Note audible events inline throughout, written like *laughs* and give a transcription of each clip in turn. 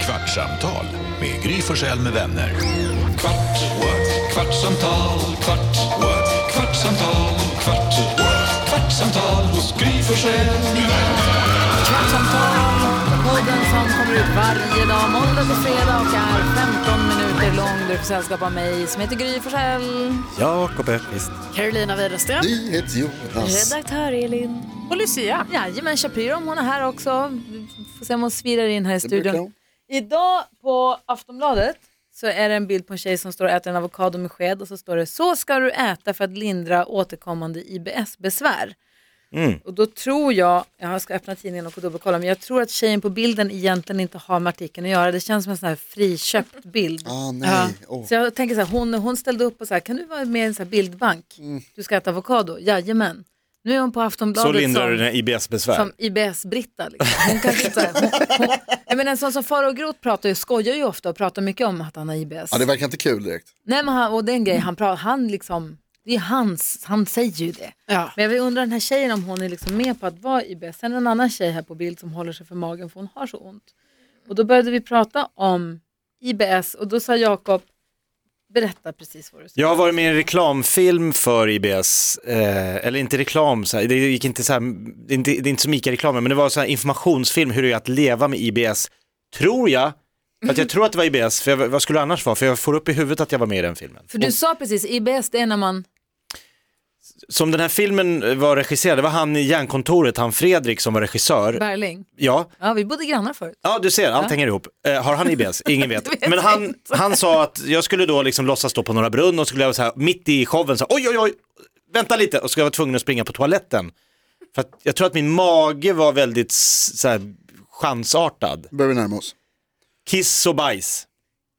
Kvartsamtal med Gry Forssell med vänner. Kvart, what? kvartsamtal, kvart, what? kvartsamtal, kvart, what? kvartsamtal hos Gry Forssell med vänner. Kvartsamtal, podden som kommer ut varje dag, måndag till fredag och är 15 minuter lång. Du får sällskap av mig som heter Gry Forssell. Jakob Öqvist. Carolina Widerström. Jonas. Redaktör Elin. Och Lucia. Jajamän, Shapiro om hon är här också. Vi får se om hon svirar in här i studion. Idag på Aftonbladet så är det en bild på en tjej som står och äter en avokado med sked och så står det så ska du äta för att lindra återkommande IBS-besvär. Mm. Och då tror jag, jag ska öppna tidningen och dubbelkolla, men jag tror att tjejen på bilden egentligen inte har med artikeln att göra. Det känns som en sån här friköpt bild. Ah, nej. Åh. Så jag tänker så här, hon, hon ställde upp och så här, kan du vara med i en sån här bildbank? Du ska äta avokado? Jajamän. Nu är hon på Mm. Så Aftonbladet lindrar du som, dina IBS-besvär. som IBS-Britta. Liksom. Hon kanske inte, så här, hon, hon, jag menar, en sån som Farao Groth pratar ju, skojar ju ofta och pratar mycket om att han har IBS. Ja, det verkar inte kul direkt. Nej, men han, och det är en grej, han, pratar, han liksom, det är hans, han säger ju det. Men jag vill undra den här tjejen om hon är liksom med på att vara IBS. Sen är det en annan tjej här på bild som håller sig för magen för hon har så ont. Och då började vi prata om IBS och då sa Jakob, berätta precis vad du sa. Jag har varit med i en reklamfilm för IBS, eh, eller inte reklam, så här, det gick inte så här, det är inte, det är inte så mycket reklamen, men det var så här informationsfilm hur det är att leva med IBS, tror jag, att Mhm. jag tror att det var IBS, för jag, vad skulle det annars vara, för jag får upp i huvudet att jag var med i den filmen. För du sa precis, IBS det är när man, Som den här filmen var regisserad, det var han i Järnkontoret, han Fredrik som var regissör, Berling, ja, ja vi bodde grannar förut. Ja, du ser, allt hänger ihop. Eh, har han *laughs* IBS? Ingen vet. Men han, han sa att jag skulle då liksom låtsas stå på Norra Brunn och skulle jag vara så här, mitt i showen, så här, oj, oj, oj, vänta lite, och så skulle jag vara tvungen att springa på toaletten. För att jag tror att min mage var väldigt s- så här, chansartad. Nu börjar vi närma oss. Kiss och bajs.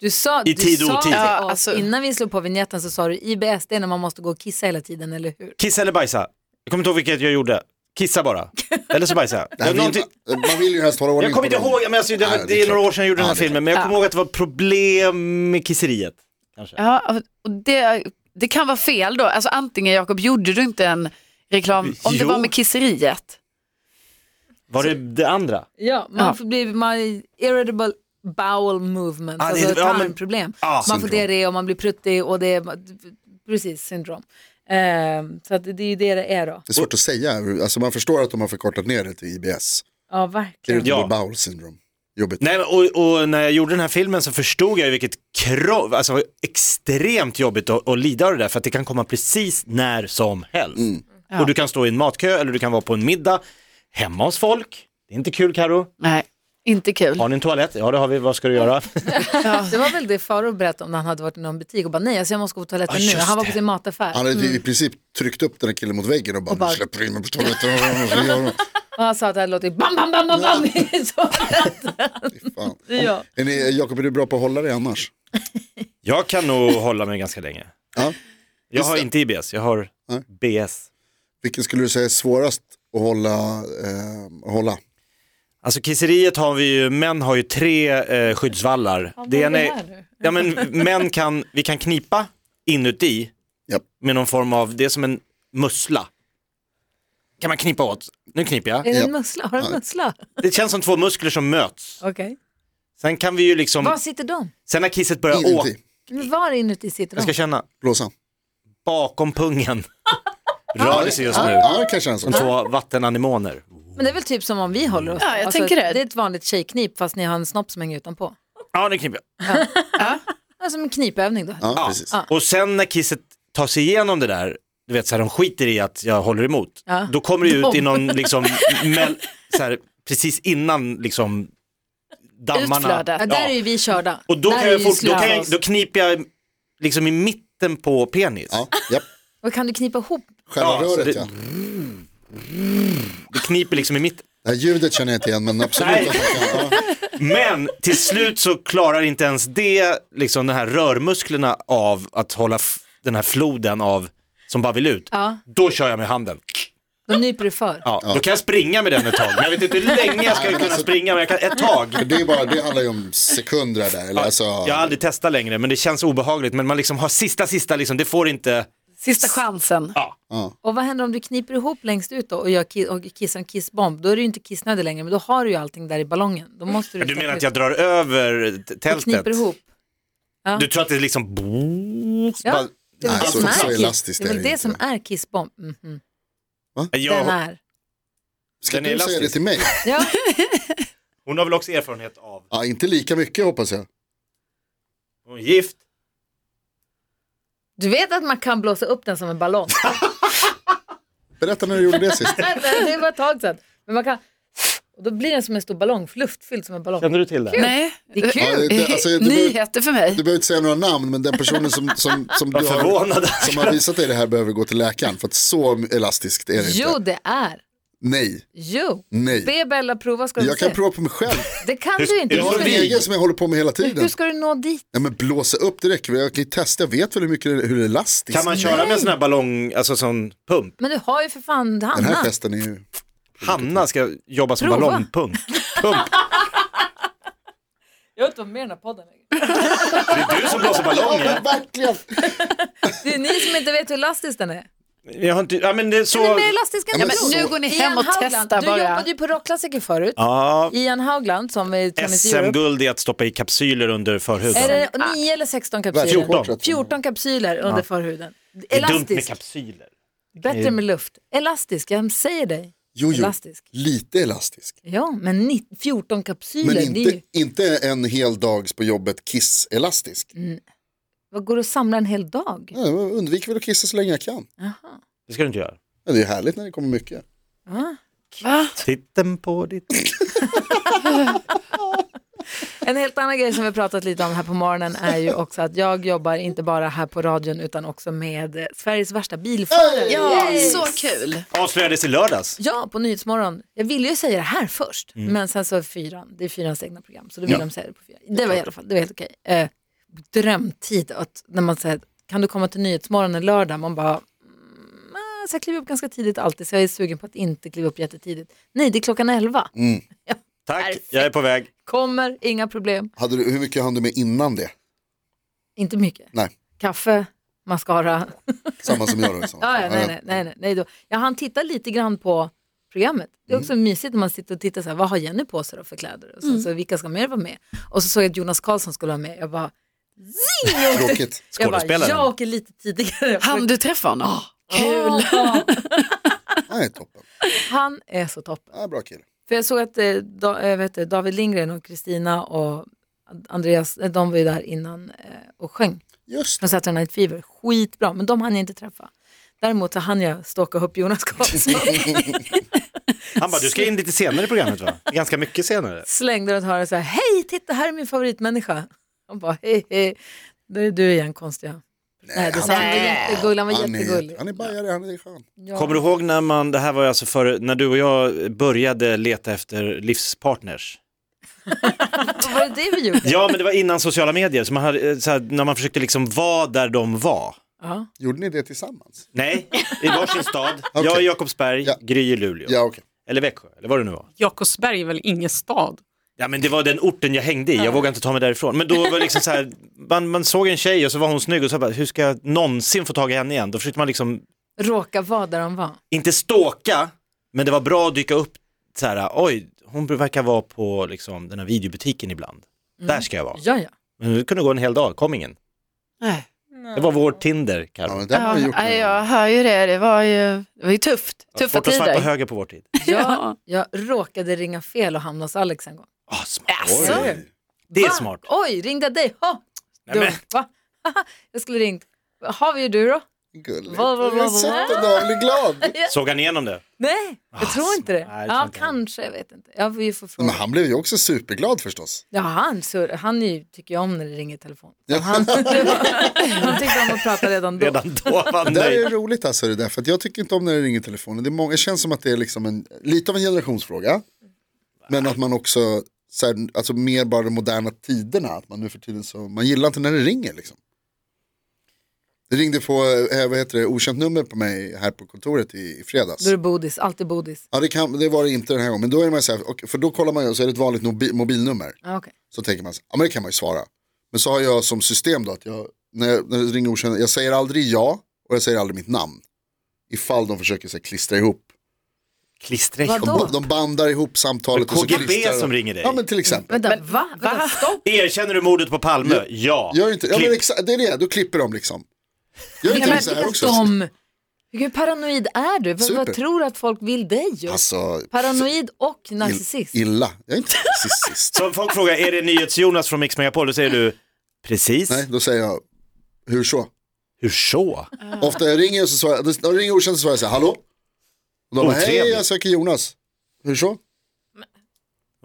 Du sa, I du tid och sa otid. till Ja, oss, innan vi slog på vignetten så sa du IBS det är när man måste gå och kissa hela tiden, eller hur? Kissa eller bajsa? Jag kommer inte ihåg vilket jag gjorde. Kissa bara. Eller så bajsa. Det här jag. Någonting- vill, man vill ju helst hålla ordning Jag kommer inte på dem. ihåg, men alltså, det, Nej, det, är är några klart. år sedan jag gjorde den här Ja, det är filmen, men jag kommer ihåg att det var problem med kisseriet. Ja, och det, det kan vara fel då. Alltså antingen Jakob, gjorde du inte en reklam, om det Jo. var med kisseriet? Var det det andra? Ja, man Ja. får bli man, irritable bowel movement, Ah, det- alltså ja, men- tarmproblem. Ah, man får syndrom. diarré och man blir pruttig och det är precis syndrom. Ehm, så att det är ju det det är då. Det är svårt att säga, alltså man förstår att de har förkortat ner det till IBS. Ja, Det är verkligen. inte Ja. ja. bowel syndrome. Jobbigt. Nej, men och, och när jag gjorde den här filmen så förstod jag ju vilket krav, alltså det var extremt jobbigt att, att lida av det där för att det kan komma precis när som helst. Och du kan stå i en matkö eller du kan vara på en middag, hemma hos folk. Det är inte kul Karo. Nej, inte kul. Har ni en toalett? Ja det har vi, vad ska du göra? Det var väl det Farao berättade om när han hade varit i någon butik och bara nej, alltså jag måste gå på toaletten Ja, nu. just Han var på det. sin mataffär. Han hade i princip tryckt upp den här killen mot väggen och bara, Mm. bara- nu släpper du in mig på toaletten. *laughs* Och han sa att det hade låtit bam, bam, bam, bam, bam. *laughs* Så- Fan. *laughs* ja. Är ni, Jakob, är du bra på att hålla dig annars? *laughs* jag kan nog hålla mig ganska länge. Ja. Jag har inte IBS, jag har BS. Vilken skulle du säga är svårast att hålla? Eh, att hålla? Alltså kisseriet har vi ju, män har ju tre eh, skyddsvallar. vad Det är ena det är- här nu? ja men män kan, vi kan knipa inuti Japp. med någon form av, det är som en mussla. Kan man knipa åt? Nu kniper jag. Är det en Ja. mussla? Har du en Ja. mussla? Det känns som två muskler som möts. Okej. Sen kan vi ju liksom, Var sitter de? sen när kisset börjar åka, Inuti, Men Var inuti sitter jag ska de? känna, blåsan. *laughs* bakom pungen rör det sig just nu. Ja, det kanske är en sån. Som två vattenanemoner. Men det är väl typ som om vi håller oss. Alltså, Ja, jag tänker det. Det är ett vanligt tjejknip fast ni har en snopp som hänger utanpå. Ja, nu kniper jag. Ja, Som en knipövning då. Ja, Ja. precis. Och sen när kisset tar sig igenom det där, du vet så här, de skiter i att jag håller emot. Ja. Då kommer det ut De. i någon, liksom, mel, så här, precis innan liksom dammarna. Utflödet. Ja, där är ju vi körda. Och då där kan, är jag ju fort, då, slut kan för jag, oss. då kniper jag liksom i mitten på penis. Ja, japp. Och kan du knipa ihop? Själva Ja, så röret det- ja. Det kniper liksom i mitten. Det här ljudet känner jag inte igen men absolut. Nej. att man kan- ja. *laughs* Men till slut så klarar inte ens det, liksom de här rörmusklerna av att hålla f- den här floden av som bara vill ut. Ja. Då kör jag med handen. Då nyper du för. Ja, Då kan jag springa med den ett tag. Men jag vet inte hur länge jag ska alltså- kunna springa, men jag kan ett tag. Det, är bara, det handlar ju om sekunder där. Eller? Alltså, Jag har aldrig testat längre, men det känns obehagligt. Men man liksom har sista, sista, liksom, det får inte... Sista chansen. Och vad händer om du kniper ihop längst ut då och, gör ki- och kissar en kissbomb? Då är du ju inte kissnödig längre, men då har du ju allting där i ballongen. Då måste du Du menar släppa att ut jag drar över t- och kniper tältet? ihop. Du tror att det är liksom... Ja. Det är väl Nej, det så- som så är kiss- elastiskt det är är väl det det inte. som är kissbomb. Mhm. Den Jag, är. Ska Den är du säga det elastisk. till mig? Ja. hon har väl också erfarenhet av... Ja, inte lika mycket hoppas jag. Hon är gift. Du vet att man kan blåsa upp den som en ballong. Berätta när du gjorde det sist. det var ett tag sedan. Men man kan... Och då blir den som en stor ballong, luftfylld som en ballong. Känner du till det? Nej. Det är Ja, kul. det, alltså, du, behöver, Nyheter för mig. du behöver inte säga några namn, men den personen som, som, som, Vad du har, förvånad. som har visat dig det här behöver gå till läkaren. För att så elastiskt är det inte. Jo, det är. Nej, Jo. nej. Be Bella prova ska du Jag kan se. prova på mig själv. Det kan du inte. Hur- Jag har en Förbi. egen som jag håller på med hela Hur tiden. ska du nå dit? Nej, men blåsa upp det räcker väl. Jag kan ju testa. Jag vet väl hur mycket hur elastiskt. Kan man Mm. köra med en sån här ballong, alltså sån pump? Men du har ju för fan Den här Hanna. festen är ju... Hanna ska jobba som Prova. ballongpump. Pump. Jag har inte varit med i den här podden längre. Det är du som blåser ballonger. verkligen. Det är ni som inte vet hur elastisk den är. Jag har inte... Ja, men det är Den är så... mer elastisk än du Ja, men tror. nu går ni Ian hem och Haugland, testar bara. Du jobbade ju på rockklassiker förut. Ja, Ian Haugland som är Tennis Europe. SM-guld är att stoppa i kapsyler under förhuden. Är det 9 eller 16 kapsyler? 14. 14 kapsyler under förhuden. Det är dumt med Elastisk, kapsyler. Eh. bättre med luft. Elastisk, jag säger dig. Jo, jo. Elastisk. Lite elastisk. Ja, men ni- 14 kapsyler, Men det är inte, ju, inte en hel dags på jobbet kiss-elastisk. Mm. vad går det att samla en hel dag? Ja, Jag undviker väl att kissa så länge jag kan. Det ska du inte göra. Ja, det är härligt när det kommer mycket. Va? Titten på ditt... En helt annan grej som vi pratat lite om här på morgonen är ju också att jag jobbar inte bara här på radion utan också med eh, Sveriges värsta bilförare. Ja, så kul. Avslöjades i lördags. Ja, på Nyhetsmorgon. Jag ville ju säga det här först, men sen så fyran, det är fyrans egna program, så då ville de säga det på fyran. Det var i alla fall, det var helt okej. Eh, drömtid, att när man säger, kan du komma till Nyhetsmorgon en lördag? Man bara, mm, eh, så jag kliver upp ganska tidigt alltid, så jag är sugen på att inte kliva upp jättetidigt. Nej, det är klockan elva. Tack, jag är på väg. Kommer, inga problem, Hade du, hur mycket hann du med innan det? inte mycket. Nej, Kaffe, mascara. samma som jag då. liksom. *laughs* så. Ja, ja, nej, nej, nej, nej, nej då. Jag hann titta lite grann på programmet. Det är också mysigt när man sitter och tittar så här, vad har Jenny på sig då för kläder? Och så, så, vilka ska mer vara med? Och så såg jag att Jonas Karlsson skulle vara med. Jag bara, Tråkigt. jag, bara Skådespelaren. jag åker lite tidigare. Han du träffa honom? Ah, Ah. kul. Nej, toppen. Han är så toppen. Ja, bra kille. För jag såg att eh, da, eh, vet du, David Lindgren och Kristina och Andreas, eh, de var ju där innan eh, och sjöng. Just *laughs* det. från Saturday Night Fever. Skitbra, men de hann jag inte träffa. Däremot så hann jag stalka upp Jonas Karlsson. Han bara, du ska in lite senare i *laughs* programmet va? Ganska mycket senare. Slängde runt hörnet så här, hej titta här är min favoritmänniska. Han bara, hej hej, det är du igen konstiga. Nej, det sa han, han var jättegullig, han var Han jättegullig. är, han är bajare, han är skön. Ja. Kommer du ihåg när man, det här var ju alltså före, när du och jag började leta efter livspartners? *laughs* Vad var det det vi gjorde? Ja, men det var innan sociala medier, så man hade, eh, så här, när man försökte liksom vara där de var. Ja. Gjorde ni det tillsammans? Nej, i varsin stad. Jag *laughs* Okej. i Jakobsberg, Ja. Gry i Luleå. Ja, okej. Eller Växjö, eller vad det nu var. Jakobsberg är väl ingen stad? Ja, men det var den orten jag hängde i, jag vågade inte ta mig därifrån. Men då var det liksom så här, man, man såg en tjej och så var hon snygg och så bara, hur ska jag någonsin få tag i henne igen? Då försökte man liksom, Råka vara där de var. inte ståka, men det var bra att dyka upp så här, oj, hon verkar vara på liksom, den här videobutiken ibland. Där ska jag vara. Ja, ja. Men det kunde gå en hel dag, kom ingen. Nej. Det var vår Tinder, Ja, Carro. men den har vi gjort. Ja, nu. jag hör ju det. Det var ju, det var ju tufft. Tuffa Bort och swipa tider. höger på vår tid. Jag, jag råkade ringa fel och hamna hos Alex en gång. Ah, smart. Oj. Det är Va? smart. Oj, ringde jag dig? Ha! Nej, men- Dumt, va? Jag skulle ringt. Har vi ju du då? Gulligt. Vad, vad, Jag har vad, sett den då, jag blir glad. Såg han igenom det? Nej, jag tror inte det. Ah, nej, det tror ja, inte jag. Mm. kanske, jag vet inte. Jag får ju få Men fråga. han blev ju också superglad förstås. Ja, han, surr- han är ju, tycker jag om när det ringer i telefon. *laughs* Så Han, han tyckte om att prata redan då. Redan då var han *laughs* Det *laughs* där nöjd. är roligt alltså det där, för att jag tycker inte om när det ringer i telefonen. Det, är många, det känns som att det är liksom en, lite av en generationsfråga. Men att man också, så här, alltså mer bara de moderna tiderna, att man nu för tiden så, man gillar inte när det ringer liksom. Det ringde på, eh, vad heter det, okänt nummer på mig här på kontoret i, i fredags. Då är det bodis, alltid bodis. Ja det, kan, det var det inte den här gången, men då är man så här, och- för då kollar man ju, så är det ett vanligt nobi- mobilnummer. Ja, okej. Så tänker man, så, ja men det kan man ju svara. Men så har jag som system då att jag, när jag, när det ringer okända, jag säger aldrig ja Och jag säger aldrig mitt namn. Ifall de försöker så här, klistra ihop. Klistra Vad- ihop. De, Vadå? ba- de bandar ihop samtalet. och så KGB klistrar de- som ringer dig. Ja men till exempel. Vänta, va? Vänta, stopp. Erkänner du mordet på Palme? Ja. Gör inte, ja, men Klipp. exa- det är det, då klipper de liksom. Gör inte Men det så här också. de, hur paranoid är du? Vad, Super. vad tror du att folk vill dig? göra? Alltså, Paranoid och ill- narcissist. illa. Jag är inte *laughs* narcissist. Så om folk frågar, är det NyhetsJonas från Mix Megapol? Då säger du, precis. Nej, då säger jag, hur så? Hur så? Ofta jag ringer och så svarar, när jag ringer okänt så svarar jag så här, hallå? Och de bara, hej Otrevligt. jag söker Jonas. Hur så?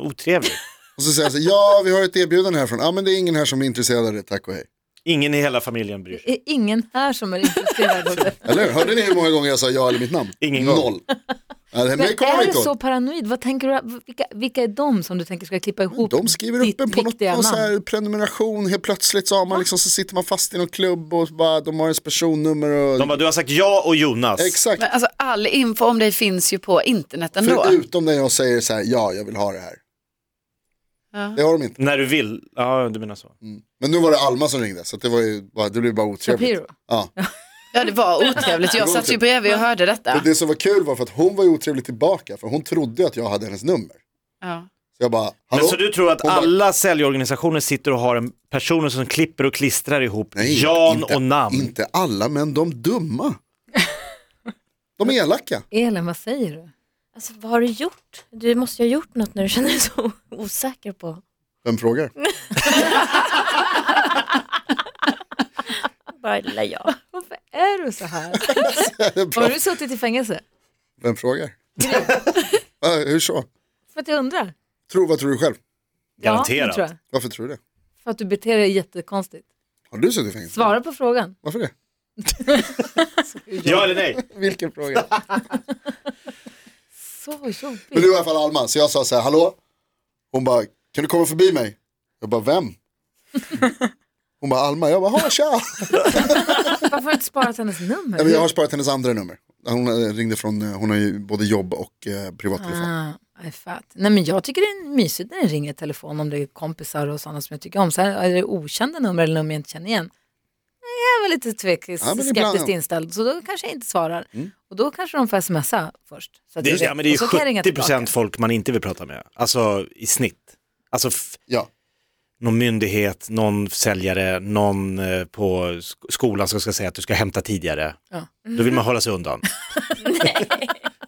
Otrevligt. Och så säger jag så här, ja vi har ett erbjudande härifrån, ja men det är ingen här som är intresserad av det, tack och hej. Ingen i hela familjen bryr sig. Det är ingen här som är *laughs* intresserad av det. Eller hur? Hörde ni hur många gånger jag sa ja eller mitt namn? Ingen gång. Noll. Ja, det- Men mig kommer är man du inte så åt. paranoid? Vad tänker du, vilka, vilka är de som du tänker ska klippa ihop De skriver upp ditt en på något, viktiga någon så namn? här prenumeration, helt plötsligt så, har man liksom, så sitter man fast i någon klubb och bara, de har ens personnummer och... De bara, du har sagt ja och Jonas. Exakt. Men alltså, all info om dig finns ju på internet ändå. Förutom när jag säger så här, ja jag vill ha det här. Ja. Det har de inte. När du vill. Ja, du menar så. Men nu var det Alma som ringde så det, var ju bara, det blev bara otrevligt. Shapiro. Ja. ja, det var otrevligt. Jag satt ju bredvid och hörde detta. Men det som var kul var för att hon var ju otrevlig tillbaka för hon trodde ju att jag hade hennes nummer. Ja. Så jag bara, hallå? Men så du tror att Hon bara- alla säljorganisationer sitter och har en personer som klipper och klistrar ihop Nej, Jan inte, och namn? Inte alla, men de dumma. De är elaka. Elin, vad säger du? Alltså vad har du gjort? Du måste ju ha gjort något när du känner dig så *laughs* osäker på. Vem frågar? Bara lilla jag. *laughs* Varför är du så *laughs* här? Det är Har bra. du suttit i fängelse? Vem *laughs* frågar? Ja, Hur så? För att jag undrar. Tror, vad tror du själv? Ja, det Garanterat. tror jag. Varför tror du det? För att du beter dig jättekonstigt. Har du suttit i fängelse? Svara på frågan. Varför det? ja eller nej? Vilken fråga? Så jobbigt. Men du var i alla fall Alma, så jag sa så här, hallå? Hon bara, kan du komma förbi mig? Jag bara, vem? Hon bara, Alma. Jag bara, ha tja! Varför har du inte sparat hennes nummer? Nej, men jag har sparat hennes andra nummer. Hon eh, ringde från, eh, hon har ju både jobb och eh, privattelefon. Ah, I fatt. Nej, men jag tycker det är mysigt när det ringer i telefon om det är kompisar och sådana som jag tycker om. Så här, är det okända nummer eller nummer jag inte känner igen? Jag är väl lite tvek, men skeptiskt ibland- Mm. inställd, så då kanske jag inte svarar. Och då kanske de får smsa först. Så att Det, jag vet. ja, men det är ju Och så kan jag ringa 70 tillbaka. procent folk man inte vill prata med. Alltså i snitt. Alltså f- Ja. någon myndighet, någon säljare, någon eh, på sk- skolan som ska säga att du ska hämta tidigare. Ja. Då vill man hålla sig undan.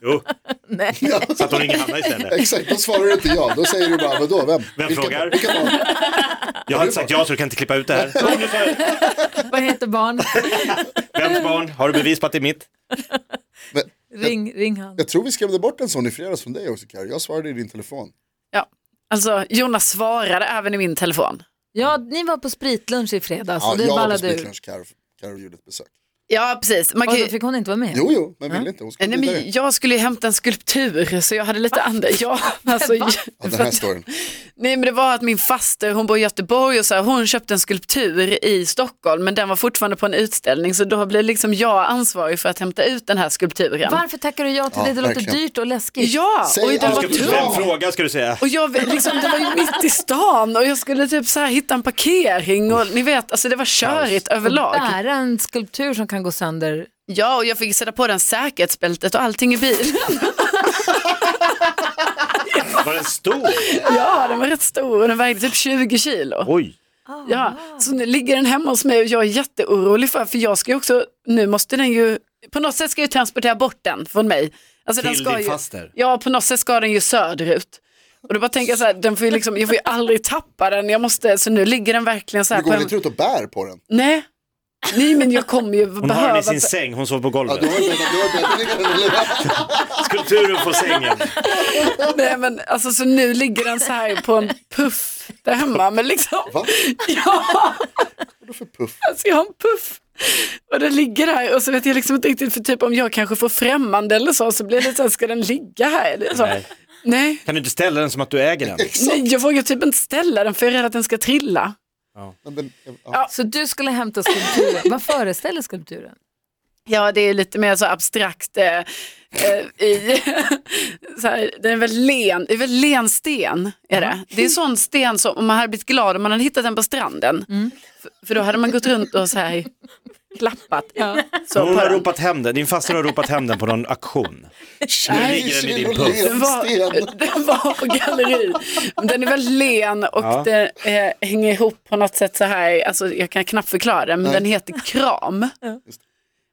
jo, *laughs* Nej. så att de ringer Hanna istället. Exakt, då svarar du inte ja. Då säger du bara, vadå, vem? Vem Vilka- frågar? Vilka barn? Jag har inte sagt ja så du kan inte klippa ut det här. Jo, nu tar jag- Vad heter *laughs* barn? Vems barn? Har du bevis på att det är mitt? Men ring, ring han. jag tror vi skrämde bort en sån i fredags från dig också, Carro. Jag svarade i din telefon. Ja. Alltså, Jonas svarade även i min telefon. Ja, ni var på spritlunch i fredags Alltså, och det jag var på ballade ur. spritlunch, Carro Carro gjorde ett besök. Ja, precis. Man Och kan då ju... fick hon inte vara med. Jo, jo, men ville inte. Hon skulle Nej, vidare. men jag skulle ju hämta en skulptur så jag hade lite andra. *laughs* Ja, alltså, Ja, den här storyn. Nej men det var att min faster, hon bor i Göteborg och så här, hon köpte en skulptur i Stockholm men den var fortfarande på en utställning så då blev liksom jag ansvarig för att hämta ut den här skulpturen. Varför tackar du ja till Ja, det? Det låter verkligen. dyrt och läskigt. Ja, Säg och den allt var du vill. tung. Vem frågar ska du säga? Och jag, liksom, det var ju mitt i stan och jag skulle typ så här hitta en parkering och ni vet, alltså det var körigt överlag. Bära en skulptur som kan gå sönder. Ja, och jag fick sätta på den säkerhetsbältet och allting i bilen. Var den stor? Ja, den var rätt stor och den vägde typ 20 kilo. Oj. Ja, så nu ligger den hemma hos mig och jag är jätteorolig för, för jag ska ju också, nu måste den ju, på något sätt ska jag ju transportera bort den från mig. Alltså, Till ska din ju, faster? Ja, på något sätt ska den ju söderut. Och då bara tänker jag så här, den får ju liksom, jag får ju aldrig tappa den, jag måste, så nu ligger den verkligen så här Du på går väl en, inte ut och bär på den? nej, nej men jag kommer ju Hon har den behöva, i sin säng, hon sover på Ja, du golvet. har ju bäddat- du har bäddat ner den, eller hur? Skulpturen på sängen. *laughs* nej men alltså så nu ligger den så här på en puff där hemma, men liksom, Va? *laughs* ja. Vadå för puff? Alltså jag har en puff. Och den ligger här och så vet jag liksom inte riktigt för typ om jag kanske får främmande eller så så blir det lite så här, ska den ligga här? Eller så. Nej. Nej. Nej. Kan du inte ställa den som att du äger den? jag vågar typ inte ställa den för jag är rädd att den ska trilla. Men den, ja. Så du skulle hämta skulpturen. Vad föreställer skulpturen? Ja, det är lite mer så abstrakt. Eh, eh, i, *laughs* så här, den är väl len, det är väl len sten. Är det. det är en sån sten som om man hade blivit glad om man hade hittat den på stranden. För, för då hade man gått runt och så här klappat. Så Hon på har den. ropat hem den, din faster har ropat hem den på någon auktion. Nu ligger den i din puff. Den var, *laughs* den var på galleri. Den är väldigt len och Ja. den eh, hänger ihop på något sätt så här. Alltså, jag kan knappt förklara det, men Nej. den heter kram.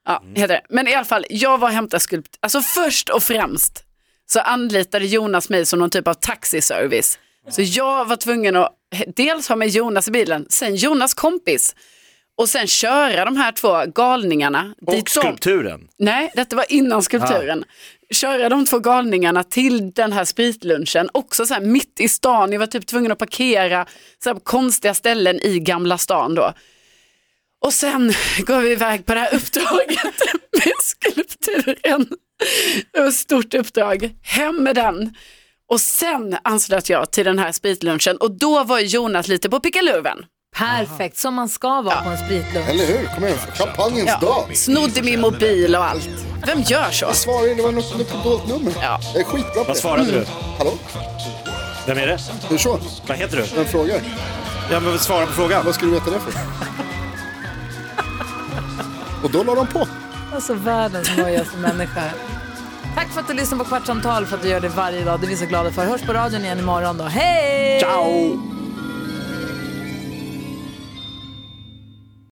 Ja, heter det. Men i alla fall, jag var och hämtade skulpt. Alltså först och främst så anlitade Jonas mig som någon typ av taxiservice. Så jag var tvungen att he- dels ha med Jonas i bilen, sen Jonas kompis och sen köra de här två galningarna. Och dit de- skulpturen. Nej, detta var innan skulpturen. Köra de två galningarna till den här spritlunchen, också så här mitt i stan. Jag var typ tvungen att parkera så här på konstiga ställen i Gamla stan då. Och sen går vi iväg på det här uppdraget *laughs* med skulpturen. Det var ett stort uppdrag. Hem med den. Och sen anslöt jag till den här spritlunchen och då var Jonas lite på pickalurven. Perfekt, som man ska vara på en spritlunch. Eller hur? Kom igen, kampanjens dag. Snodde min mobil och allt. Vem gör så? Jag svarar in, det var något, något dolt nummer. Ja. Jag är skitbra på Vad det. svarade du? Hallå? Vem är det? Hur så? Vad heter du? Vem frågar? Ja, men svara på frågan. Vad ska du veta det för? Och då la de på. Alltså världens nojigaste människa. Tack för att du lyssnar på Kvartsamtal, för att du gör det varje dag. Det är vi så glada för. Hörs på radion igen imorgon då. Hej! Ciao!